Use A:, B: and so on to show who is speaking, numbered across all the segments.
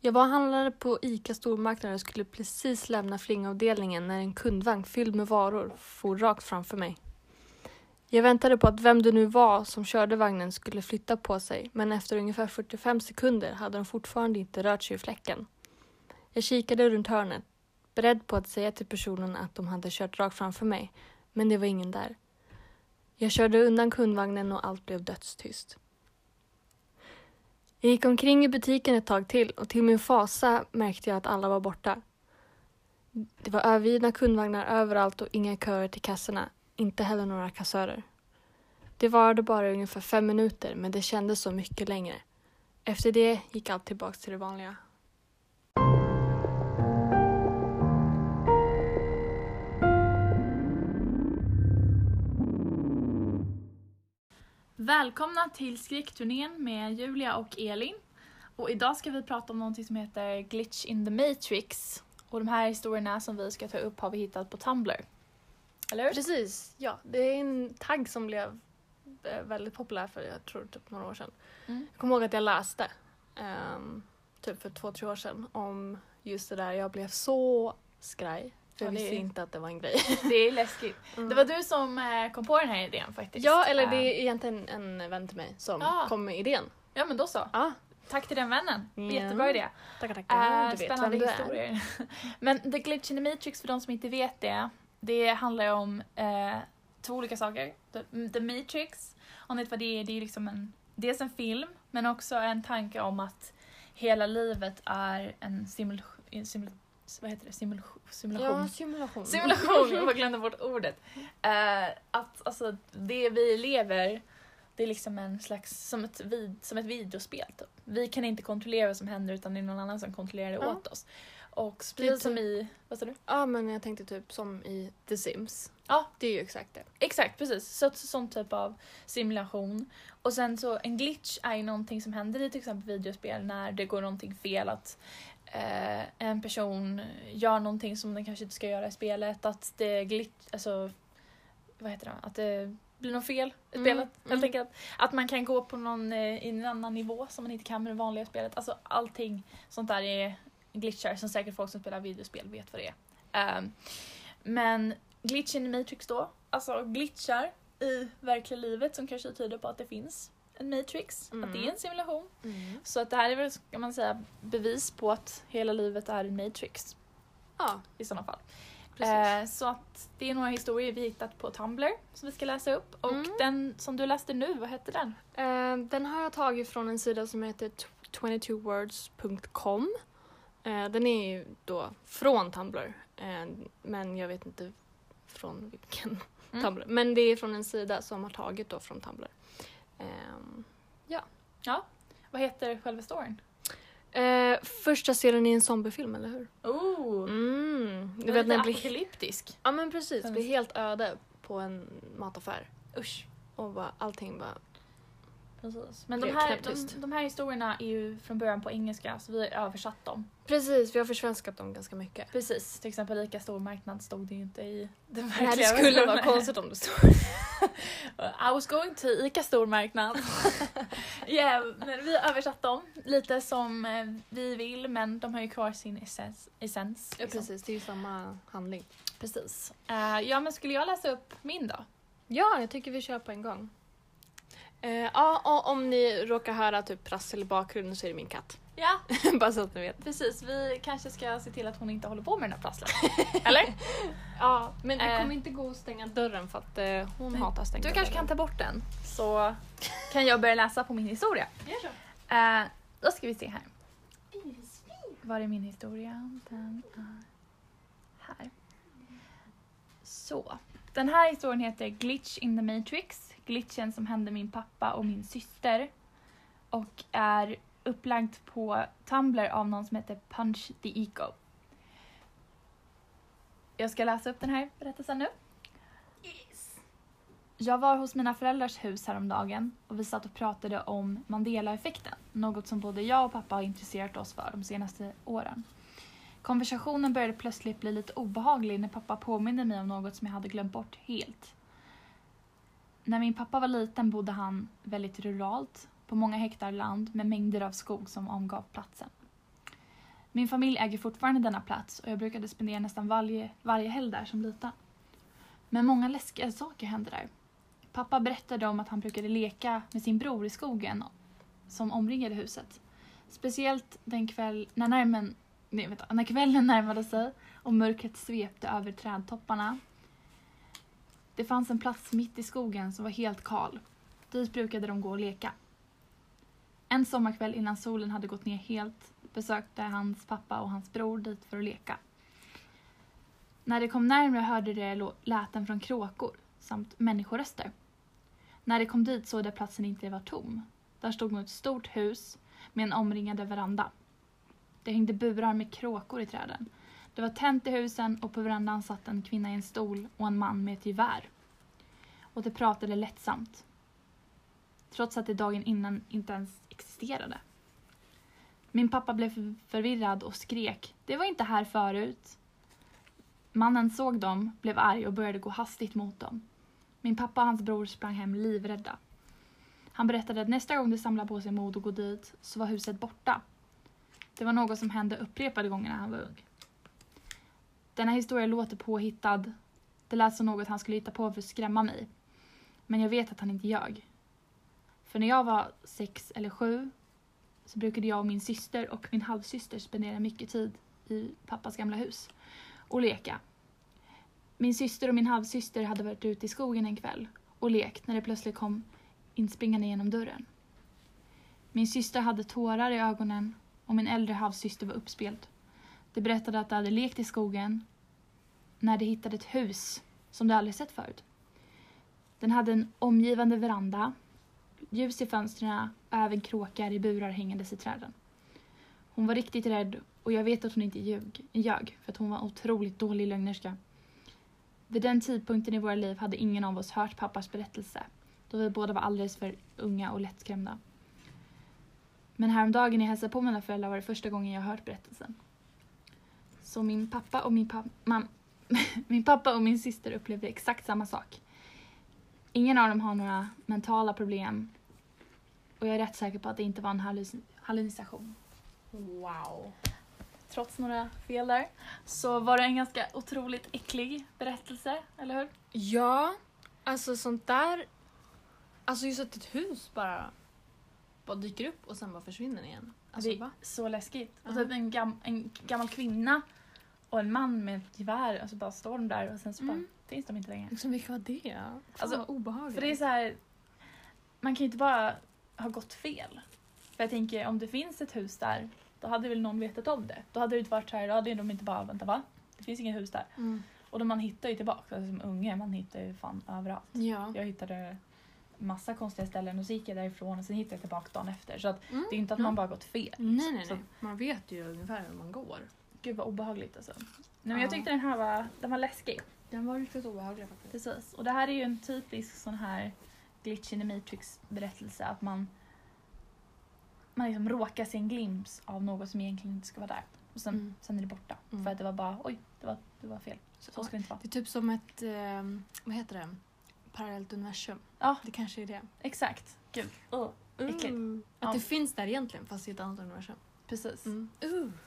A: Jag var och handlade på ICA stormarknad och skulle precis lämna flingavdelningen när en kundvagn fylld med varor for rakt framför mig. Jag väntade på att vem det nu var som körde vagnen skulle flytta på sig men efter ungefär 45 sekunder hade de fortfarande inte rört sig ur fläcken. Jag kikade runt hörnet, beredd på att säga till personen att de hade kört rakt framför mig, men det var ingen där. Jag körde undan kundvagnen och allt blev dödstyst. Jag gick omkring i butiken ett tag till och till min fasa märkte jag att alla var borta. Det var övergivna kundvagnar överallt och inga köer till kassorna, inte heller några kassörer. Det varade bara ungefär fem minuter men det kändes så mycket längre. Efter det gick allt tillbaks till det vanliga.
B: Välkomna till Skrikturnén med Julia och Elin. Och idag ska vi prata om någonting som heter Glitch in the Matrix. Och de här historierna som vi ska ta upp har vi hittat på Tumblr. Eller hur?
A: Precis, ja. Det är en tagg som blev eh, väldigt populär för jag tror typ några år sedan.
B: Mm.
A: Jag kommer ihåg att jag läste ehm, typ för två, tre år sedan om just det där. Jag blev så skraj. För jag
B: Ja, det
A: visste
B: är-
A: inte att det var en grej.
B: Det är läskigt.
A: Mm.
B: Det var du som eh, kom på den här idén faktiskt.
A: Ja, eller det
B: Eh,
A: är egentligen en vän till mig som
B: Ah.
A: kom med idén.
B: Ja, men då så.
A: Ja,
B: Tack till den vännen.
A: Ja.
B: Jättebra idé.
A: tackar tackar.
B: Eh,
A: du vet vem
B: spännande
A: du är.
B: historier. Men The Glitch in the Matrix, för de som inte vet det, det handlar ju om eh, två olika saker. The, the Matrix, om ni vet vad det är, det är ju liksom en, dels en film, men också en tanke om att hela livet är en simul... simul vad heter det? Simul, simulation?
A: Ja, simulation.
B: Simulation, jag bara glömde bort ordet. Eh, att alltså, det vi lever, det är liksom en slags, som ett, vid, som ett videospel typ. Vi kan inte kontrollera vad som händer utan det är någon annan som kontrollerar det
A: Ja.
B: åt oss. Och
A: Typ-
B: precis som i, vad sa du?
A: Ja, men jag tänkte typ som i The Sims.
B: Ja.
A: Det är ju exakt det.
B: Exakt, precis. Så, sån typ av simulation. Och sen så en glitch är ju någonting som händer i till exempel videospel när det går någonting fel. Att eh, en person gör någonting som den kanske inte ska göra i spelet. Att det glitch, alltså vad heter det? Att det blir något fel i
A: Mm,
B: spelet.
A: mm.
B: Helt enkelt. Att man kan gå på någon, eh, i en annan nivå som man inte kan med det vanliga spelet. Alltså allting sånt där är glitchar som säkert folk som spelar videospel vet vad det är. Ehm, men glitch in the matrix då, alltså glitchar i verkliga livet som kanske tyder på att det finns en matrix,
A: Mm.
B: att det är en simulation. Så att det här är väl, kan man säga, bevis på att hela livet är en matrix
A: Ja,
B: i sådana fall.
A: precis.
B: Eh, så att det är några historier vi hittat på Tumblr som vi ska läsa upp. Och
A: Mm.
B: den som du läste nu, vad hette den?
A: Eh, den har jag tagit från en sida som heter tw- 22words.com. Eh, den är ju då från Tumblr, eh, men jag vet inte från vilken
B: Mm.
A: Tumblr. Men det är från en sida som har tagit då från Tumblr. Ehm,
B: Vad heter själva storyn?
A: eh, första scenen i en zombiefilm, eller hur?
B: Oh!
A: Mm. Du
B: Den
A: vet
B: är
A: när
B: lite
A: det blir...
B: apokalyptisk.
A: Ja men precis,
B: Den
A: blir
B: är-
A: helt öde på en mataffär.
B: Usch.
A: Och bara, allting bara...
B: Precis. Men de
A: Det är
B: här,
A: knäpptyst.
B: de, de här historierna är ju från början på engelska så vi har översatt dem.
A: Precis, vi har försvenskat dem ganska mycket.
B: Precis, till exempel Rika stormarknad stod det ju inte i den verkliga
A: Nej, det skulle vara
B: versionen.
A: konstigt om det stod
B: I was going to Ica stormarknad. yeah, men vi har översatt dem lite som eh, vi vill men de har ju kvar sin essens. essens
A: Ja,
B: liksom.
A: precis, det är ju samma handling.
B: Precis. Eh, ja men skulle jag läsa upp min då?
A: Ja, jag tycker vi kör på en gång. Eh, ja, och om ni råkar höra typ prassel i bakgrunden så är det min katt.
B: Ja,
A: Bara så att ni vet.
B: precis. Vi kanske ska se till att hon inte håller på med den här prasslet. Eller?
A: Ja, men det
B: eh.
A: kommer inte gå att stänga dörren för att eh, hon
B: Nej,
A: hatar att stänga
B: Du kanske kan
A: dörren.
B: ta bort den så kan jag börja läsa på min historia. Eh, då ska vi se här. Var är min historia? Den är här. Så. Den här historien heter Glitch in the Matrix. Glitchen som hände min pappa och min syster. Och är upplagd på Tumblr av någon som heter Punch the Eco. Jag ska läsa upp den här berättelsen nu. Jag var hos mina föräldrars hus häromdagen och vi satt och pratade om Mandela-effekten. Något som både jag och pappa har intresserat oss för de senaste åren. Konversationen började plötsligt bli lite obehaglig när pappa påminde mig om något som jag hade glömt bort helt. När min pappa var liten bodde han väldigt ruralt, på många hektar land med mängder av skog som omgav platsen. Min familj äger fortfarande denna plats och jag brukade spendera nästan varje, varje helg där som liten. Men många läskiga saker hände där. Pappa berättade om att han brukade leka med sin bror i skogen som omringade huset. Speciellt den kväll när, närmen, nej, vänta, när kvällen närmade sig och mörkret svepte över trädtopparna. Det fanns en plats mitt i skogen som var helt kal. Dit brukade de gå och leka. En sommarkväll innan solen hade gått ner helt besökte hans pappa och hans bror dit för att leka. När de kom närmre hörde de lo- läten från kråkor samt människoröster. När de kom dit såg de att platsen inte var tom. Där stod nog ett stort hus med en omringade veranda. Det hängde burar med kråkor i träden. Det var tänt i husen och på verandan satt en kvinna i en stol och en man med ett gevär. Och de pratade lättsamt. Trots att det dagen innan inte ens existerade. Min pappa blev för- förvirrad och skrek ”Det var inte här förut!” Mannen såg dem, blev arg och började gå hastigt mot dem. Min pappa och hans bror sprang hem livrädda. Han berättade att nästa gång de samlade på sig mod och gå dit så var huset borta. Det var något som hände upprepade gånger när han var ung. Denna historia låter påhittad. Det lät som något han skulle hitta på för att skrämma mig. Men jag vet att han inte ljög. För när jag var sex eller sju så brukade jag och min syster och min halvsyster spendera mycket tid i pappas gamla hus och leka. Min syster och min halvsyster hade varit ute i skogen en kväll och lekt när det plötsligt kom inspringande genom dörren. Min syster hade tårar i ögonen och min äldre halvsyster var uppspelt. De berättade att de hade lekt i skogen när de hittade ett hus som de aldrig sett förut. Den hade en omgivande veranda, ljus i fönstren och även kråkar i burar hängandes i träden. Hon var riktigt rädd och jag vet att hon inte ljug, ljög för att hon var otroligt dålig lögnerska. Vid den tidpunkten i våra liv hade ingen av oss hört pappas berättelse då vi båda var alldeles för unga och lättskrämda. Men häromdagen jag hälsade på mina föräldrar var det första gången jag hört berättelsen. Så min pappa och min, pa- mam- min pappa och min syster upplevde exakt samma sak. Ingen av dem har några mentala problem och jag är rätt säker på att det inte var en halluc- hallucination
A: Wow.
B: trots några fel där, så var det en ganska otroligt äcklig berättelse, eller hur?
A: Ja, alltså sånt där. Alltså just att ett hus bara, bara dyker upp och sen bara försvinner igen. Alltså,
B: det är
A: va?
B: så läskigt. Och
A: Ja.
B: typ en, gam, en gammal kvinna och en man med ett gevär, alltså bara står de där och sen så
A: Mm.
B: bara finns de inte längre.
A: Liksom, vilka var det? Fan,
B: Alltså,
A: vad obehagligt.
B: För det är så här, man kan ju inte bara ha gått fel. För jag tänker om det finns ett hus där, då hade väl någon vetat om det. Då hade det inte varit så här, då hade de inte bara, vänta va? Det finns inget hus där.
A: mm.
B: Och då man hittar ju tillbaka, alltså, som unge, man hittar ju fan överallt.
A: Ja.
B: Jag hittade massa konstiga ställen och så gick jag därifrån och sen hittade jag tillbaka dagen efter. Så att
A: Mm.
B: det är inte att
A: Ja.
B: man bara gått fel.
A: Nej, nej,
B: Så,
A: nej. Man vet ju ungefär hur man går.
B: gud vad obehagligt alltså. Nej, men Jag
A: Ja.
B: tyckte den här var, den var läskig.
A: Den var riktigt obehaglig faktiskt.
B: Precis. Och det här är ju en typisk sån här glitch in the matrix berättelse att man man liksom råkar se en glimt av något som egentligen inte ska vara där. Och sen,
A: Mm.
B: sen är det borta.
A: Mm.
B: För att det var bara oj, det var, det var fel. Så ska det inte vara.
A: Det är typ som ett, eh, vad heter det, parallellt universum.
B: Ja.
A: Det kanske är det.
B: Exakt. Gud. Ugh. Äckligt.
A: Att
B: Ja. Mm.
A: det finns där egentligen fast i ett annat universum.
B: Precis.
A: Uh.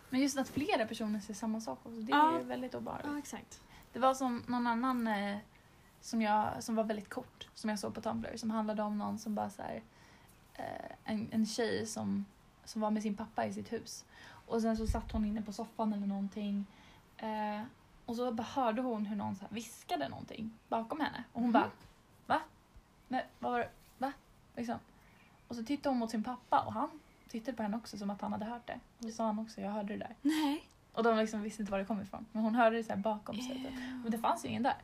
B: Men just att flera personer ser samma sak också, det
A: Ja.
B: är ju väldigt obehagligt.
A: Ja, exakt.
B: Det var som någon annan eh, som, jag, som var väldigt kort, som jag såg på Tumblr, som handlade om någon som bara så här, eh, en, en tjej som, som var med sin pappa i sitt hus. Och sen så satt hon inne på soffan eller någonting. Eh, och så bara hörde hon hur någon så här viskade någonting bakom henne. Och hon
A: Mhm.
B: bara Va? Men, vad var det? Va? Liksom. Och så tittade hon mot sin pappa och han tittade på henne också som att han hade hört det. Och så sa han också jag hörde det där.
A: Nej.
B: Och de liksom visste inte var det kom ifrån. Men hon hörde det så här bakom sig. typ.
A: Ehm,
B: Men det fanns ju ingen där.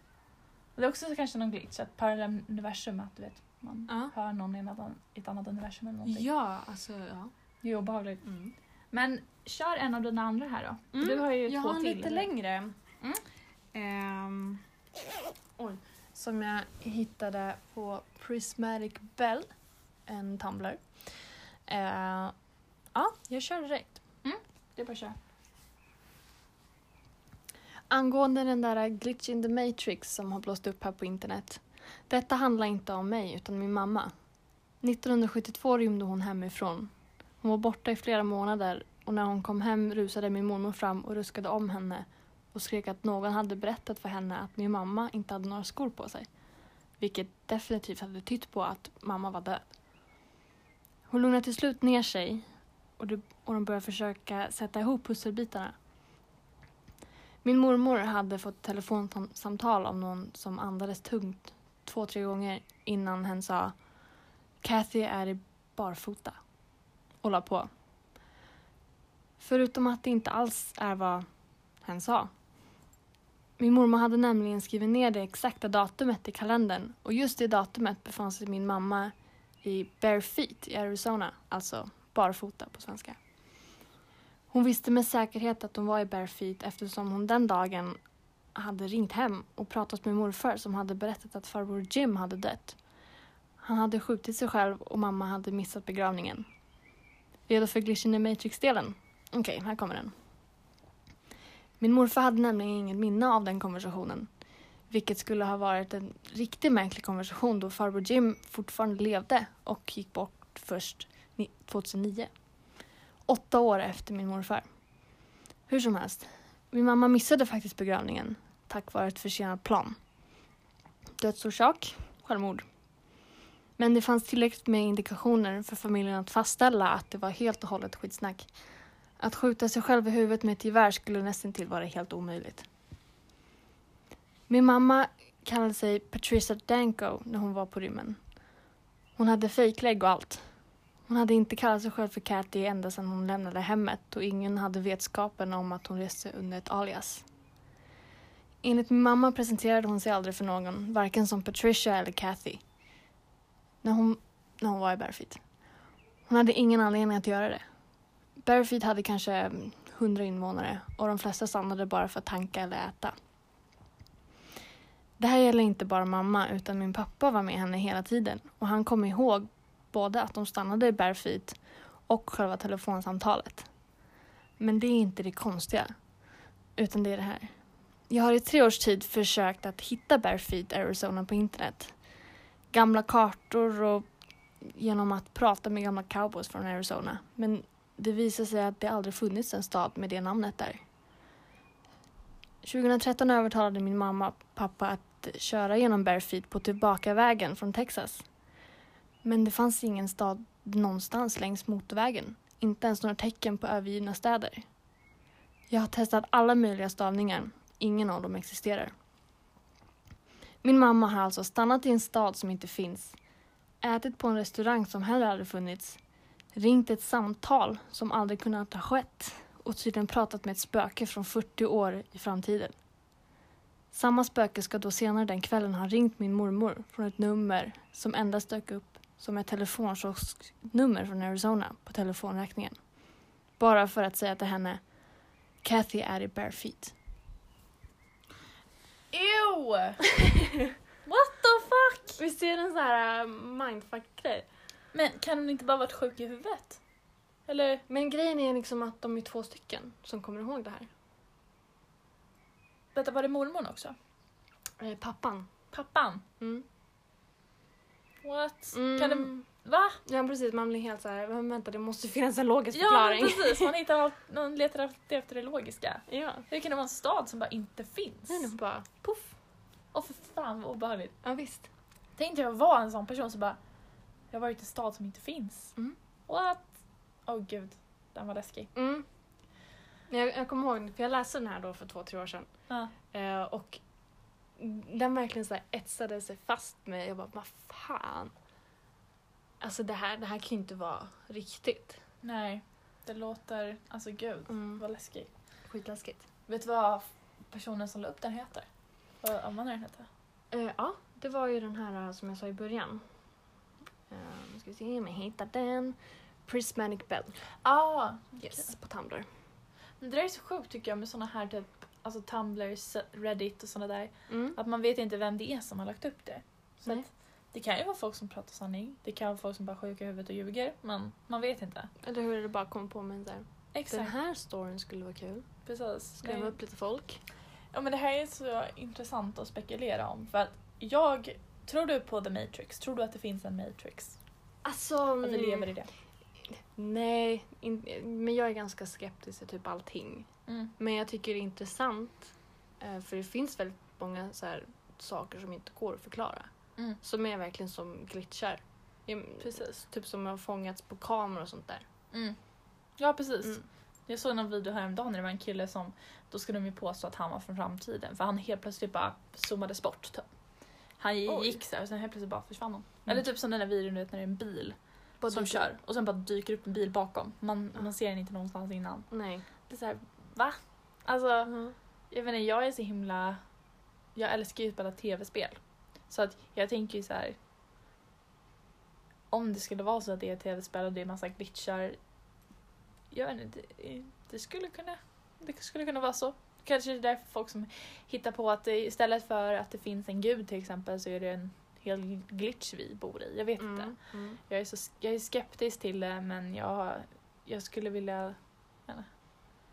B: Och det är också så kanske någon glitch, att parallell universum, att du vet, man
A: Ja.
B: hör någon i en annan- i ett annat universum eller någonting.
A: Ja, alltså ja.
B: Det är obehagligt.
A: Mm.
B: Men kör en av dina andra här då. För
A: Mm,
B: Du har ju
A: Jag
B: två
A: har en
B: till. Mm.
A: lite längre. Ehm, oj. Som jag hittade på Prismatic Bell, en Tumblr. Eh, ja, jag kör direkt.
B: Det är bara att köra.
A: Angående den där glitch in the matrix som har blåst upp här på internet. Detta handlar inte om mig utan min mamma. 1972 rymde hon hemifrån. Hon var borta i flera månader och när hon kom hem rusade min mormor fram och ruskade om henne och skrek att någon hade berättat för henne att min mamma inte hade några skor på sig. Vilket definitivt hade tytt på att mamma var död. Hon lugnade till slut ner sig och, det, och de började försöka sätta ihop pusselbitarna. Min mormor hade fått telefonsamtal av någon som andades tungt två, tre gånger innan hen sa Kathy är i barfota och la på. Förutom att det inte alls är vad hen sa. Min mormor hade nämligen skrivit ner det exakta datumet i kalendern och just det datumet befann sig min mamma i Bare Feet i Arizona, alltså barfota på svenska. Hon visste med säkerhet att hon var i Bare Feet eftersom hon den dagen hade ringt hem och pratat med morfar som hade berättat att farbror Jim hade dött. Han hade skjutit sig själv och mamma hade missat begravningen. Redo för glitchen i Matrix-delen? Okej, här kommer den. Min morfar hade nämligen inget minne av den konversationen. Vilket skulle ha varit en riktigt märklig konversation då farbror Jim fortfarande levde och gick bort först ni- 2009. Åtta år efter min morfar. Hur som helst, min mamma missade faktiskt begravningen tack vare ett försenat plan. Dödsorsak? Självmord. Men det fanns tillräckligt med indikationer för familjen att fastställa att det var helt och hållet skitsnack. Att skjuta sig själv i huvudet med ett gevär skulle nästan till vara helt omöjligt. Min mamma kallade sig Patricia Danko när hon var på rymmen. Hon hade fejklägg och allt. Hon hade inte kallat sig själv för Cathy ända sedan hon lämnade hemmet och ingen hade vetskapen om att hon reste under ett alias. Enligt min mamma presenterade hon sig aldrig för någon, varken som Patricia eller Cathy. När hon, när hon var i Barefeet. Hon hade ingen anledning att göra det. Barefeet hade kanske mm, 100 invånare och de flesta stannade bara för att tanka eller äta. Det här gäller inte bara mamma utan min pappa var med henne hela tiden och han kom ihåg både att de stannade i Barefeet och själva telefonsamtalet. Men det är inte det konstiga, utan det är det här. Jag har i tre års tid försökt att hitta Barefeet Arizona på internet. Gamla kartor och genom att prata med gamla cowboys från Arizona. Men det visar sig att det aldrig funnits en stad med det namnet där. 2013 övertalade min mamma och pappa att köra genom Barefeet på tillbakavägen från Texas. Men det fanns ingen stad någonstans längs motorvägen. Inte ens några tecken på övergivna städer. Jag har testat alla möjliga stavningar. Ingen av dem existerar. Min mamma har alltså stannat i en stad som inte finns, ätit på en restaurang som heller aldrig funnits, ringt ett samtal som aldrig kunnat ha skett och tydligen pratat med ett spöke från 40 år i framtiden. Samma spöke ska då senare den kvällen ha ringt min mormor från ett nummer som endast dök upp som ett telefonkiosknummer från Arizona på telefonräkningen. Bara för att säga till henne Kathy är i bare feet.
B: Ew! What the fuck?
A: Visst är det en sån här äh, mindfuck-grej?
B: Men kan hon inte bara varit sjuk i huvudet? Eller?
A: Men grejen är liksom att de är två stycken som kommer ihåg det här.
B: Vänta, var det mormor också?
A: Eh, pappan.
B: Pappan?
A: Mm.
B: What?
A: Mm.
B: Kan det... Va?
A: Ja precis, man blir helt så här, men vänta det måste finnas en logisk
B: Ja, men
A: förklaring.
B: precis. Man, hittar, allt- man letar alltid efter det logiska.
A: Ja,
B: Hur kan det vara en stad som bara inte finns?
A: Nej, det bara poff.
B: Åh för fan vad obehagligt.
A: Ja visst.
B: Tänk dig att vara en sån person som bara Jag har varit i en stad som inte finns.
A: Mm.
B: What? Åh gud, den var läskig.
A: Mm. Jag, jag kommer ihåg, för jag läste den här då för två, tre år sedan.
B: Ja.
A: Eh, och den verkligen så här etsade sig fast med Jag bara, vad fan. Alltså det här, det här kan ju inte vara riktigt.
B: Nej, det låter... Alltså gud,
A: Mm.
B: vad läskig.
A: Skitläskigt.
B: Vet du vad personen som la upp den heter? Vad användaren heter?
A: Eh, ja, det var ju den här eh, som jag sa i början. Eh, nu ska vi se om jag hittar den. Prismatic Bell.
B: Ah,
A: Yes, på Tumblr.
B: Men det där är så sjukt tycker jag med såna här typ alltså Tumblr, Se- Reddit och såna där.
A: Mm.
B: Att man vet inte vem det är som har lagt upp det. Så
A: Nej.
B: att, det kan ju vara folk som pratar sanning. Det kan vara folk som bara är sjuka i huvudet och ljuger. Men man vet inte.
A: Eller hur, det bara kom på mig där. Den
B: Exakt.
A: här storyn skulle vara kul.
B: Precis.
A: Skrämma
B: Nej.
A: upp lite folk.
B: Ja men det här är så intressant att spekulera om. För att jag... Tror du på The Matrix? Tror du att det finns en Matrix?
A: Alltså,
B: Att vi
A: mm,
B: lever i det?
A: Nej, in, men jag är ganska skeptisk till typ allting.
C: Mm.
A: Men jag tycker det är intressant eh, för det finns väldigt många så här, saker som inte går att förklara.
C: Mm.
A: Som är verkligen som glitchar. Ja, men,
B: Precis.
A: Typ som har fångats på kameror och sånt där.
B: Mm. Ja, precis.
A: Mm.
B: Jag såg någon video häromdagen när det var en kille som, då skulle de ju påstå att han var från framtiden för han helt plötsligt bara zoomades bort. Typ. Han
A: Oj.
B: gick så här och sen helt plötsligt bara försvann han.
C: Mm.
B: Eller typ som den där videon du vet när det är en bil som kör och sen bara dyker upp en bil bakom. Man,
A: Ja.
B: man ser den inte någonstans innan.
A: Nej.
B: Det är så här, va? Alltså,
A: Mm.
B: jag vet inte, jag är så himla... Jag älskar ju att spela tv-spel. Så att jag tänker ju så här. Om det skulle vara så att det är tv-spel och det är massa glitchar. Jag vet inte, det, det skulle kunna... Det skulle kunna vara så. Kanske det är därför folk som hittar på att det, istället för att det finns en gud till exempel så är det en hel glitch vi bor i. Jag vet inte.
A: Mm. Mm.
B: Jag är, så, jag är skeptisk till det men jag, jag skulle vilja... Jag vet inte,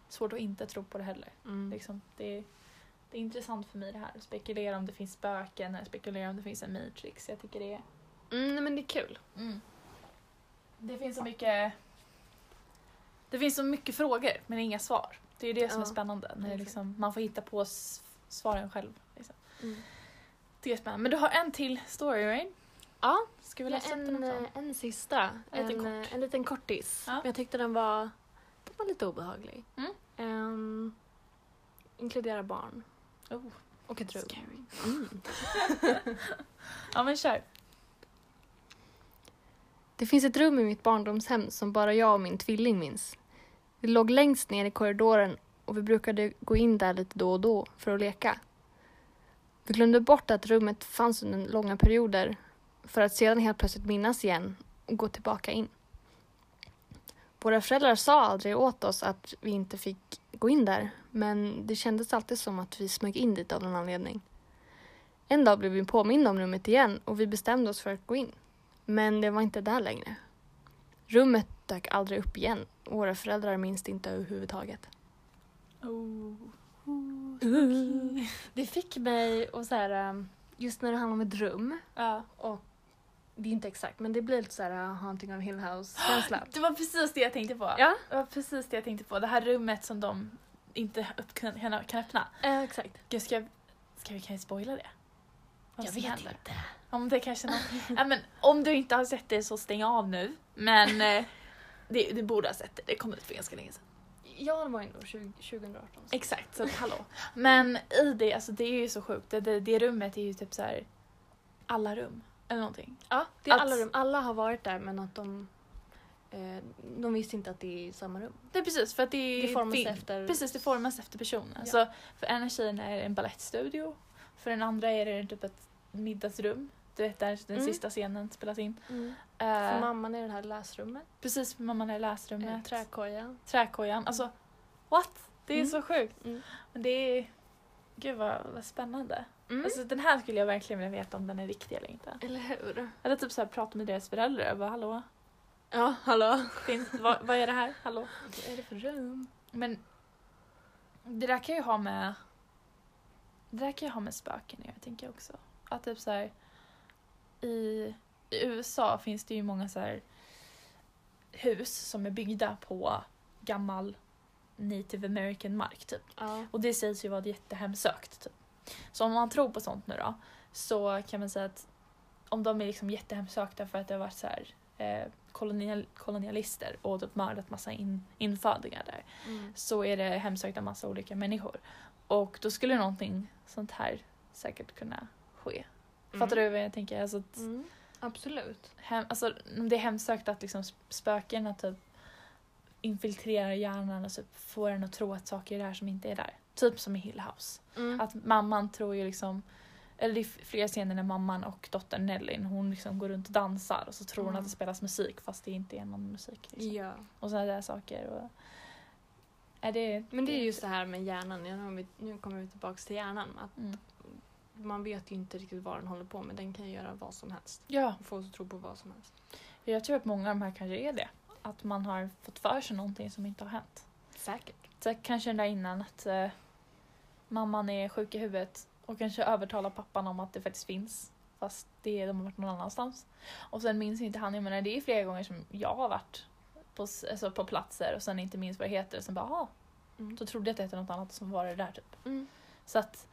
B: svårt att inte tro på det heller.
A: Mm.
B: Liksom, det, är, det är intressant för mig det här. Spekulera om det finns spöken, eller spekulera om det finns en matrix. Jag tycker det är...
A: Mm, nej, men det är kul.
B: Det finns så mycket... Det finns så mycket frågor men inga svar. Det är ju det som
A: Ja,
B: är spännande. När det
A: verkligen.
B: liksom, man får hitta på s- svaren själv. Liksom.
A: Mm.
B: Det är spännande. Men du har en till story, right?
A: Ja,
B: Ska vi
A: jag
B: läsa
A: har
B: upp den
A: en,
B: också?
A: eh, en sista.
B: En liten
A: eh,
B: kort.
A: en liten kortis.
B: Ja.
A: Men jag tyckte den var, den var lite obehaglig.
B: Mm.
A: Ehm, inkludera barn.
B: Oh,
A: Och ett rum.
B: scary.
A: Mm.
B: Ja men kör.
A: Det finns ett rum i mitt barndomshem som bara jag och min tvilling minns. Vi låg längst ner i korridoren och vi brukade gå in där lite då och då för att leka. Vi glömde bort att rummet fanns under långa perioder för att sedan helt plötsligt minnas igen och gå tillbaka in. Våra föräldrar sa aldrig åt oss att vi inte fick gå in där men det kändes alltid som att vi smög in dit av någon anledning. En dag blev vi påminna om rummet igen och vi bestämde oss för att gå in. Men det var inte där längre. Rummet dök aldrig upp igen och våra föräldrar minns det inte överhuvudtaget.
B: Oh.
A: Det fick mig att så här, um, just när det handlar om ett rum,
B: Ja.
A: det är inte exakt, men det blir lite så här uh, Haunting of Hill House-känsla.
B: Det var precis det jag tänkte på.
A: ja,
B: Det var precis det jag tänkte på. Det här rummet som de inte upp, kan, kan öppna.
A: eh, exakt.
B: Gud, ska, ska vi kan ju spoila det? Vad som händer.
A: inte.
B: Om det kanske är någon, ja, men, Om du inte har sett det så stäng av nu. Men eh, det, du borde ha sett det. Det kom ut för ganska länge sedan.
A: Jag var ju ändå 20, 2018. så-
B: Exakt, så att, hallå. Men i det, alltså det är ju så sjukt. Det, det, det rummet är ju typ så här alla rum. Eller någonting.
A: Ja, det är
B: Att-
A: alla rum. Alla har varit där men att de, eh, de visste inte att det är samma rum.
B: Det är precis för att det,
A: Det formas
B: fin-
A: efter...
B: Precis, det formas efter personen.
A: Mm. Ja.
B: Så för ena tjejen är det en balettstudio. För den andra är det typ ett middagsrum. Du vet där den
A: Mm.
B: sista scenen spelas in.
A: Mm.
B: Eh,
A: För mamman är det här läsrummet,
B: precis, för mamman är i
A: eh,
B: läsrummet.
A: träkojan.
B: Träkojan. Alltså, what? Det är
A: Mm.
B: så sjukt.
A: Mm.
B: Men det är... Gud vad, vad spännande.
A: Mm.
B: Alltså, den här skulle jag verkligen vilja veta om den är riktig eller inte.
A: Eller hur?
B: Eller typ så här, prata med deras föräldrar. Jag bara, hallå?
A: Ja, hallå.
B: Finns, vad, vad är det här? Hallå?
A: Vad är det för rum?
B: Men det där kan ju ha med det där kan ju ha med spöken att göra tänker jag också. Att typ så här, i, i USA finns det ju många så här hus som är byggda på gammal native american mark typ.
A: Ja.
B: Och det sägs ju vara jättehemsökt. Typ. Så om man tror på sånt nu då så kan man säga att om de är liksom jättehemsökta för att det har varit så här, eh, kolonial, kolonialister och typ mördat massa in, infödingar där
A: Mm.
B: så är det hemsökt av massa olika människor. Och då skulle någonting sånt här säkert kunna ske. Fattar du vad jag tänker? Alltså, att
A: Mm. Absolut.
B: hem, alltså om det är hemsökt att liksom sp- spökena typ infiltrerar hjärnan och typ får en att tro att saker är där som inte är där. Typ som i Hill House.
A: Mm.
B: Att mamman tror ju liksom eller det är flera scener när mamman och dottern Nellin hon liksom går runt och dansar och så tror hon
A: Mm.
B: att det spelas musik fast det inte är någon musik. Liksom.
A: Ja.
B: Och sådana där saker. Och... Är Mm. det...
A: Men det är just det här med hjärnan. Ja, nu har vi- Nu kommer vi tillbaka till hjärnan. Att
B: Mm.
A: man vet ju inte riktigt vad den håller på med. Den kan ju göra vad som helst.
B: Ja,
A: Få oss att tro på vad som helst.
B: jag tror att många av de här kanske är det. Att man har fått för sig någonting som inte har hänt.
A: Säkert.
B: Så kanske den där innan att eh, mamman är sjuk i huvudet och kanske övertalar pappan om att det faktiskt finns. Fast det är de har varit någon annanstans. Och sen minns inte han, jag menar det är flera gånger som jag har varit på, s- alltså, på platser och sen inte minns vad det heter och sen bara ah,
A: Mm.
B: så trodde jag att det hette något annat som var det där typ.
A: Mm.
B: Så att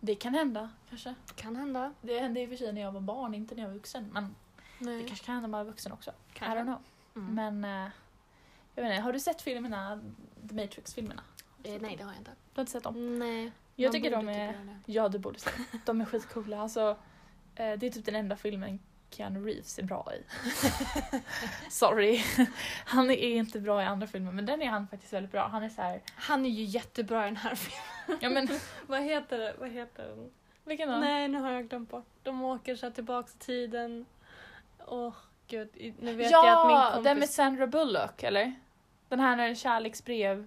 B: det kan hända kanske.
A: Kan hända.
B: Det hände i och för sig när jag var barn, inte när jag var vuxen. Men
A: Nej.
B: det kanske kan hända när man är vuxen också.
A: Mm. Kanske.
B: I don't know.
A: Mm.
B: Men eh, jag vet inte, har du sett filmerna, The Matrix-filmerna?
A: Eh, nej, det har jag inte.
B: Du har inte sett dem?
A: Nej.
B: Jag
A: man
B: tycker de
A: borde typ
B: är...
A: göra det.
B: Ja, du borde se dem. De är skitcoola. Alltså, eh, det är typ den enda filmen Keanu Reeves är bra i. Sorry. Han är inte bra i andra filmer, men den är han faktiskt väldigt bra. Han är så här...
A: Han är ju jättebra i den här filmen.
B: Ja, men,
A: Vad heter det? Vad heter den?
B: vilken då?
A: Nej, nu har jag glömt bort. De åker så här tillbaks i tiden. Åh, gud. I- Nu vet
B: ja,
A: jag att min kompis...
B: den med Sandra Bullock, eller? Den här när kärleksbrev...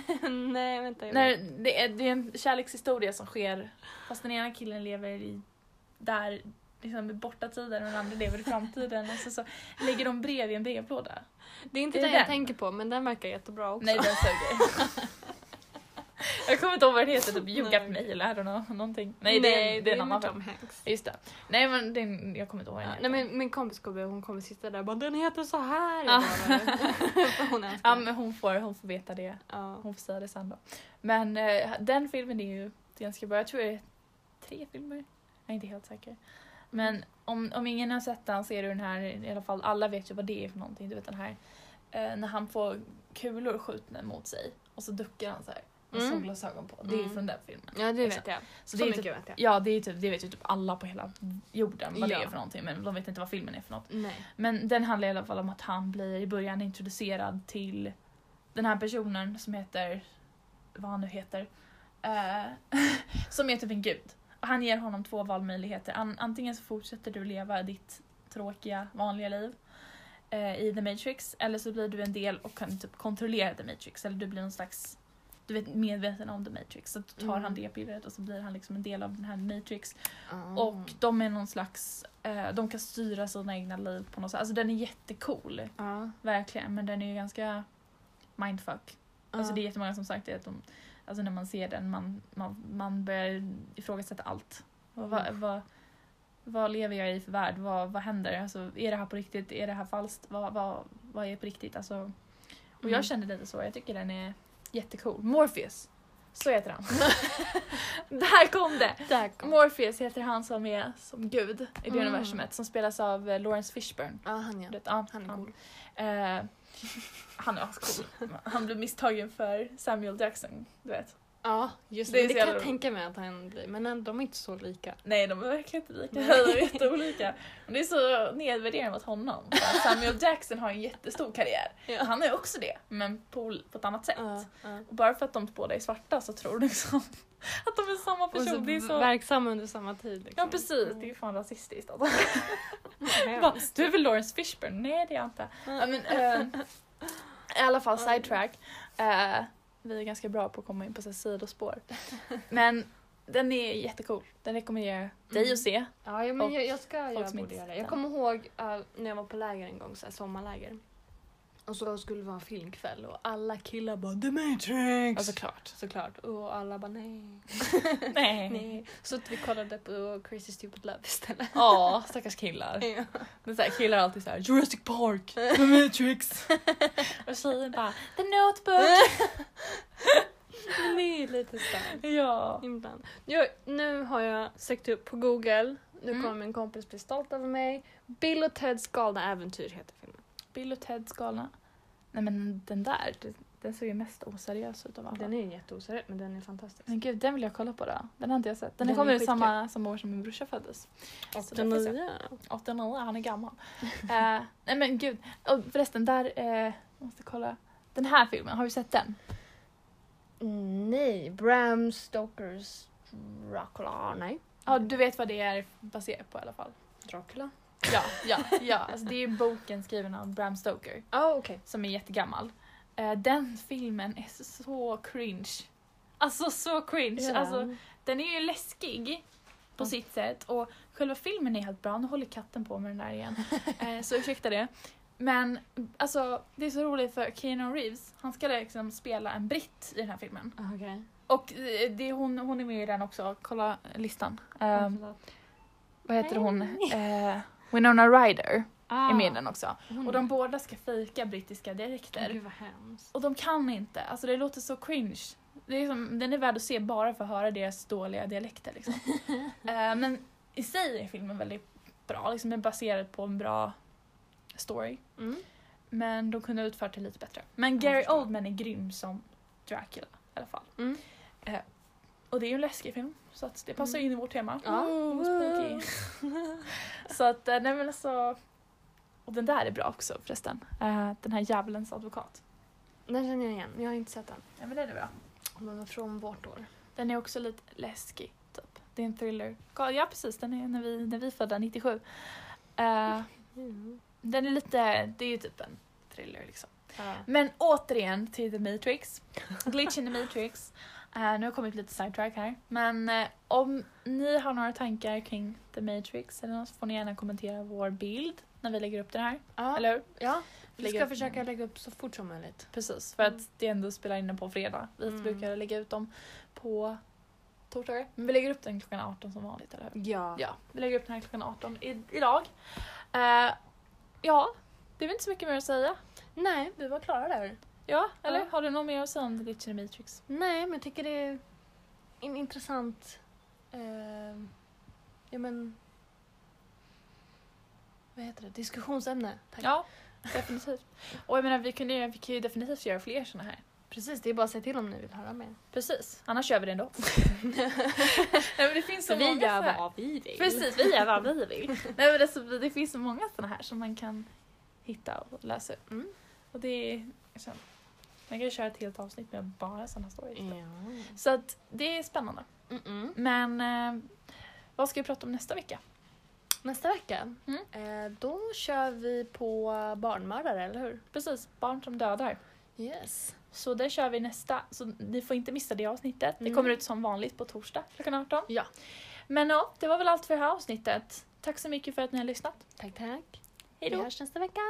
A: nej, vänta. jag
B: När
A: vet.
B: det, är, det är en kärlekshistoria som sker fast den ena killen lever i där liksom i borta tiden och den andra lever i framtiden och så, så lägger de brev i en brevlåda.
A: Det är inte
B: är det
A: den jag
B: den?
A: tänker på, men den verkar jättebra också.
B: Nej den suger. jag kommer inte ihåg vad den heter, typ You
A: Nej.
B: Got Mail eller I don't know, någonting. Nej, det, är- det är en annan
A: med
B: film.
A: Tom Hanks.
B: Just det. Nej men det är, en- jag kommer inte ihåg vad
A: Ja,
B: den
A: nej,
B: heter.
A: men min kompis kommer, hon kommer sitta där och bara den heter så här.
B: Ja.
A: Jag bara, för hon älskar
B: Ja
A: den.
B: men Ah. hon får, hon får veta det.
A: ja.
B: Hon får säga det sen då. Men eh, den filmen är ju ganska bra. Jag tror det är tre filmer. Jag är inte helt säker. Men om, om ingen har sett den så är det den här, i alla fall alla vet ju vad det är för någonting. Du vet den här eh, när han får kulor skjutna mot sig och så duckar han så här med
A: Mm.
B: solglasögon på. Det är
A: Mm.
B: från den filmen.
A: ja, det
B: Exakt.
A: vet jag. så
B: Så det är
A: mycket
B: typ,
A: vet jag.
B: ja, det är typ, det vet ju typ alla på hela jorden vad det
A: Ja.
B: är för någonting men de vet inte vad filmen är för något.
A: Nej.
B: Men den handlar i alla fall om att han blir i början introducerad till den här personen som heter, vad han nu heter, eh, som är typ en gud. Och han ger honom två valmöjligheter. An- antingen så fortsätter du leva ditt tråkiga vanliga liv eh, i The Matrix eller så blir du en del och kan typ kontrollera The Matrix eller du blir någon slags du vet, medveten om The Matrix. Så tar
A: Mm.
B: han det pillret och så blir han liksom en del av den här Matrix.
A: Ah.
B: Och de är någon slags, eh, de kan styra sina egna liv på något sätt. Alltså den är jättecool,
A: Ja.
B: verkligen. Men den är ju ganska mindfuck. Alltså
A: Ah.
B: det är jättemånga som sagt det att de, alltså när man ser den, man, man, man börjar ifrågasätta allt. Vad, vad,
A: Mm.
B: vad, vad lever jag i för värld? Vad, vad händer? Alltså, är det här på riktigt? Är det här falskt? Vad, vad, vad är på riktigt? Alltså, och
A: Mm.
B: jag kände lite så, jag tycker den är jättecool. Morpheus, så heter han. Där kom det!
A: Där kom-
B: Morpheus heter han som är som gud i det
A: Mm.
B: universumet som spelas av eh, Lawrence Fishburne.
A: Ja, han
B: Du
A: ja.
B: vet, ja,
A: Han är cool.
B: Eh, han är ascool. Han blev misstagen för Samuel Jackson, du vet.
A: Ja, just
B: Det
A: det.
B: är
A: Det, kan
B: så jävla
A: jag tänka mig att han blir. Men han- de är inte så lika.
B: Nej, de är verkligen inte lika.
A: Nej.
B: De är jätteolika. Och det är så nedvärderande mot honom. För att Samuel Jackson har en jättestor karriär.
A: Ja.
B: Han är också det, men på, ol- på ett annat sätt.
A: Ja, ja.
B: Och bara för att de båda är svarta så tror du liksom att de är samma
A: Och
B: person.
A: så
B: det är så...
A: verksamma under samma tid. Liksom.
B: Ja precis, det är ju fan rasistiskt. Alltså.
A: Mm.
B: Bara, du är väl Lawrence Fishburne? Nej det är jag inte. Ja, men, eh, I alla fall sidetrack. Eh, vi är ganska bra på att komma in på så här sidospår. Men den är jättecool. Den rekommenderar jag dig
A: Mm.
B: att se.
A: Ja, ja, men
B: Och
A: jag, jag ska
B: folk
A: jag
B: som
A: borde
B: inte
A: göra det.
B: sett
A: Jag kommer ihåg eh, när jag var på läger en gång, så här, sommarläger. Och så skulle det vara en filmkväll och alla killar bara The Matrix!
B: Ja såklart.
A: Såklart. Och alla bara nej.
B: Nej.
A: nej. Så att vi kollade på Crazy Stupid Love istället.
B: Ja, stackars killar.
A: Ja.
B: Det är så här, killar är alltid så här Jurassic Park, The Matrix. Och tjejen bara The Notebook.
A: det är lite starkt.
B: Ja.
A: Ibland. Jag, nu har jag sökt upp på google. Nu
B: Mm.
A: kommer min kompis bli stolt över mig. Bill och Teds galna äventyr heter filmen.
B: Bill och Teds galna. Nej men den där, den- den ser ju mest oseriös ut av alla.
A: Den är jätteoseriös men den är fantastisk.
B: Men gud, den vill jag kolla på då. Den har inte jag sett. Den,
A: Den
B: kommer
A: är
B: ut samma, samma år som min brorsa föddes. Så den får jag se. 89, han är gammal. Eh, nej men gud, och förresten där, eh, jag måste kolla. Den här filmen, har du sett den?
A: Mm, Nej, Bram Stokers Dracula. Nej.
B: Ja, du vet vad det är baserat på i alla fall.
A: Dracula?
B: Ja, ja, ja. Alltså, det är ju boken skriven av Bram Stoker
A: Ja, okej.
B: som är jättegammal. Eh, den filmen är så cringe. Alltså så cringe. Alltså, Den är ju läskig på
A: Ja.
B: sitt sätt och själva filmen är helt bra. Nu håller katten på med den där igen. eh, så ursäkta det. Men alltså, det är så roligt för Keanu Reeves, han ska liksom spela en britt i den här filmen.
A: Ah, Okej.
B: Och eh, det är hon, hon är med i den också, kolla Ehm, listan. Eh, vad heter hon? Eh, Winona Ryder.
A: Ah.
B: är med i den också.
A: Hon
B: Och
A: är-
B: de båda ska fejka brittiska
A: Åh,
B: dialekter.
A: Gud vad hemskt.
B: Och de kan inte, alltså det låter så cringe. Det är som, den är värd att se bara för att höra deras dåliga dialekter. Liksom. Eh, men i sig är filmen väldigt bra, liksom den är baserad på en bra story.
A: Mm.
B: Men de kunde ha utfört det lite bättre. Men
A: Jag
B: Gary
A: förstår.
B: Oldman är grym som Dracula i alla fall.
A: Mm.
B: Eh, och det är ju en läskig film så att det passar
A: Mm.
B: in i vårt tema.
A: Ja.
B: Mm, spooky. så att, eh, nej men alltså. Och den där är bra också förresten. Eh, den här djävulens advokat.
A: Den känner jag igen, jag har inte sett den.
B: Ja men den är bra.
A: Den är från vårt år.
B: Den är också lite läskig typ. Det är en thriller. Ja ja, precis, den är när vi, när vi födda 97. Eh,
A: Mm.
B: den är lite, det är ju typ en thriller liksom.
A: Ja.
B: Men återigen till The Matrix. Glitch in the Matrix. Eh, nu har jag kommit lite sidetrack här. Men eh, om ni har några tankar kring The Matrix eller något så får ni gärna kommentera vår bild när vi lägger upp den här.
A: Ja.
B: Eller hur?
A: ja, vi
B: Lägga
A: ska
B: upp
A: försöka
B: den.
A: lägga upp så fort som möjligt.
B: Precis, för
A: Mm.
B: att det ändå spelar in den på fredag. Vi
A: Mm.
B: brukar lägga ut dem på torsdagar. Men vi lägger upp den klockan 18 som vanligt, eller hur?
A: Ja.
B: Ja, vi lägger upp den här klockan 18 i- idag. Eh, ja, det är väl inte så mycket mer att säga.
A: Nej, vi var klara där.
B: Ja, eller?
A: Ja.
B: Har du något mer att säga om The Glitch in the Matrix?
A: Nej, men jag tycker det är en intressant... Eh, ja, men... Vad heter det? Diskussionsämne. Tack.
B: Ja, definitivt. Och jag menar, vi kan ju, vi kan ju definitivt göra fler sådana här.
A: Precis, det är bara att säga till om ni vill höra mer.
B: Precis, annars gör vi det ändå. Nej, men det finns så många så här.
A: vi vill.
B: Precis, vi gör vad vi vill. Nej, men alltså, det finns så många sådana här som man kan hitta och läsa upp.
A: Mm.
B: Och det är, jag känner, man kan ju köra ett helt avsnitt med bara sådana stories.
A: Ja.
B: Så att det är spännande.
A: Mm-mm.
B: Men eh, vad ska vi prata om nästa vecka?
A: Nästa vecka,
B: Mm.
A: eh, då kör vi på barnmördare, eller hur?
B: Precis, barn som dödar.
A: Yes.
B: Så det kör vi nästa, så ni får inte missa det avsnittet. Det
A: Mm.
B: kommer ut som vanligt på torsdag klockan 18.
A: Ja.
B: Men ja, det var väl allt för det här avsnittet. Tack så mycket för att ni har lyssnat.
A: Tack, tack.
B: Hej då!
A: Vi hörs nästa vecka.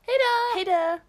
B: Hej då!
A: Hej då!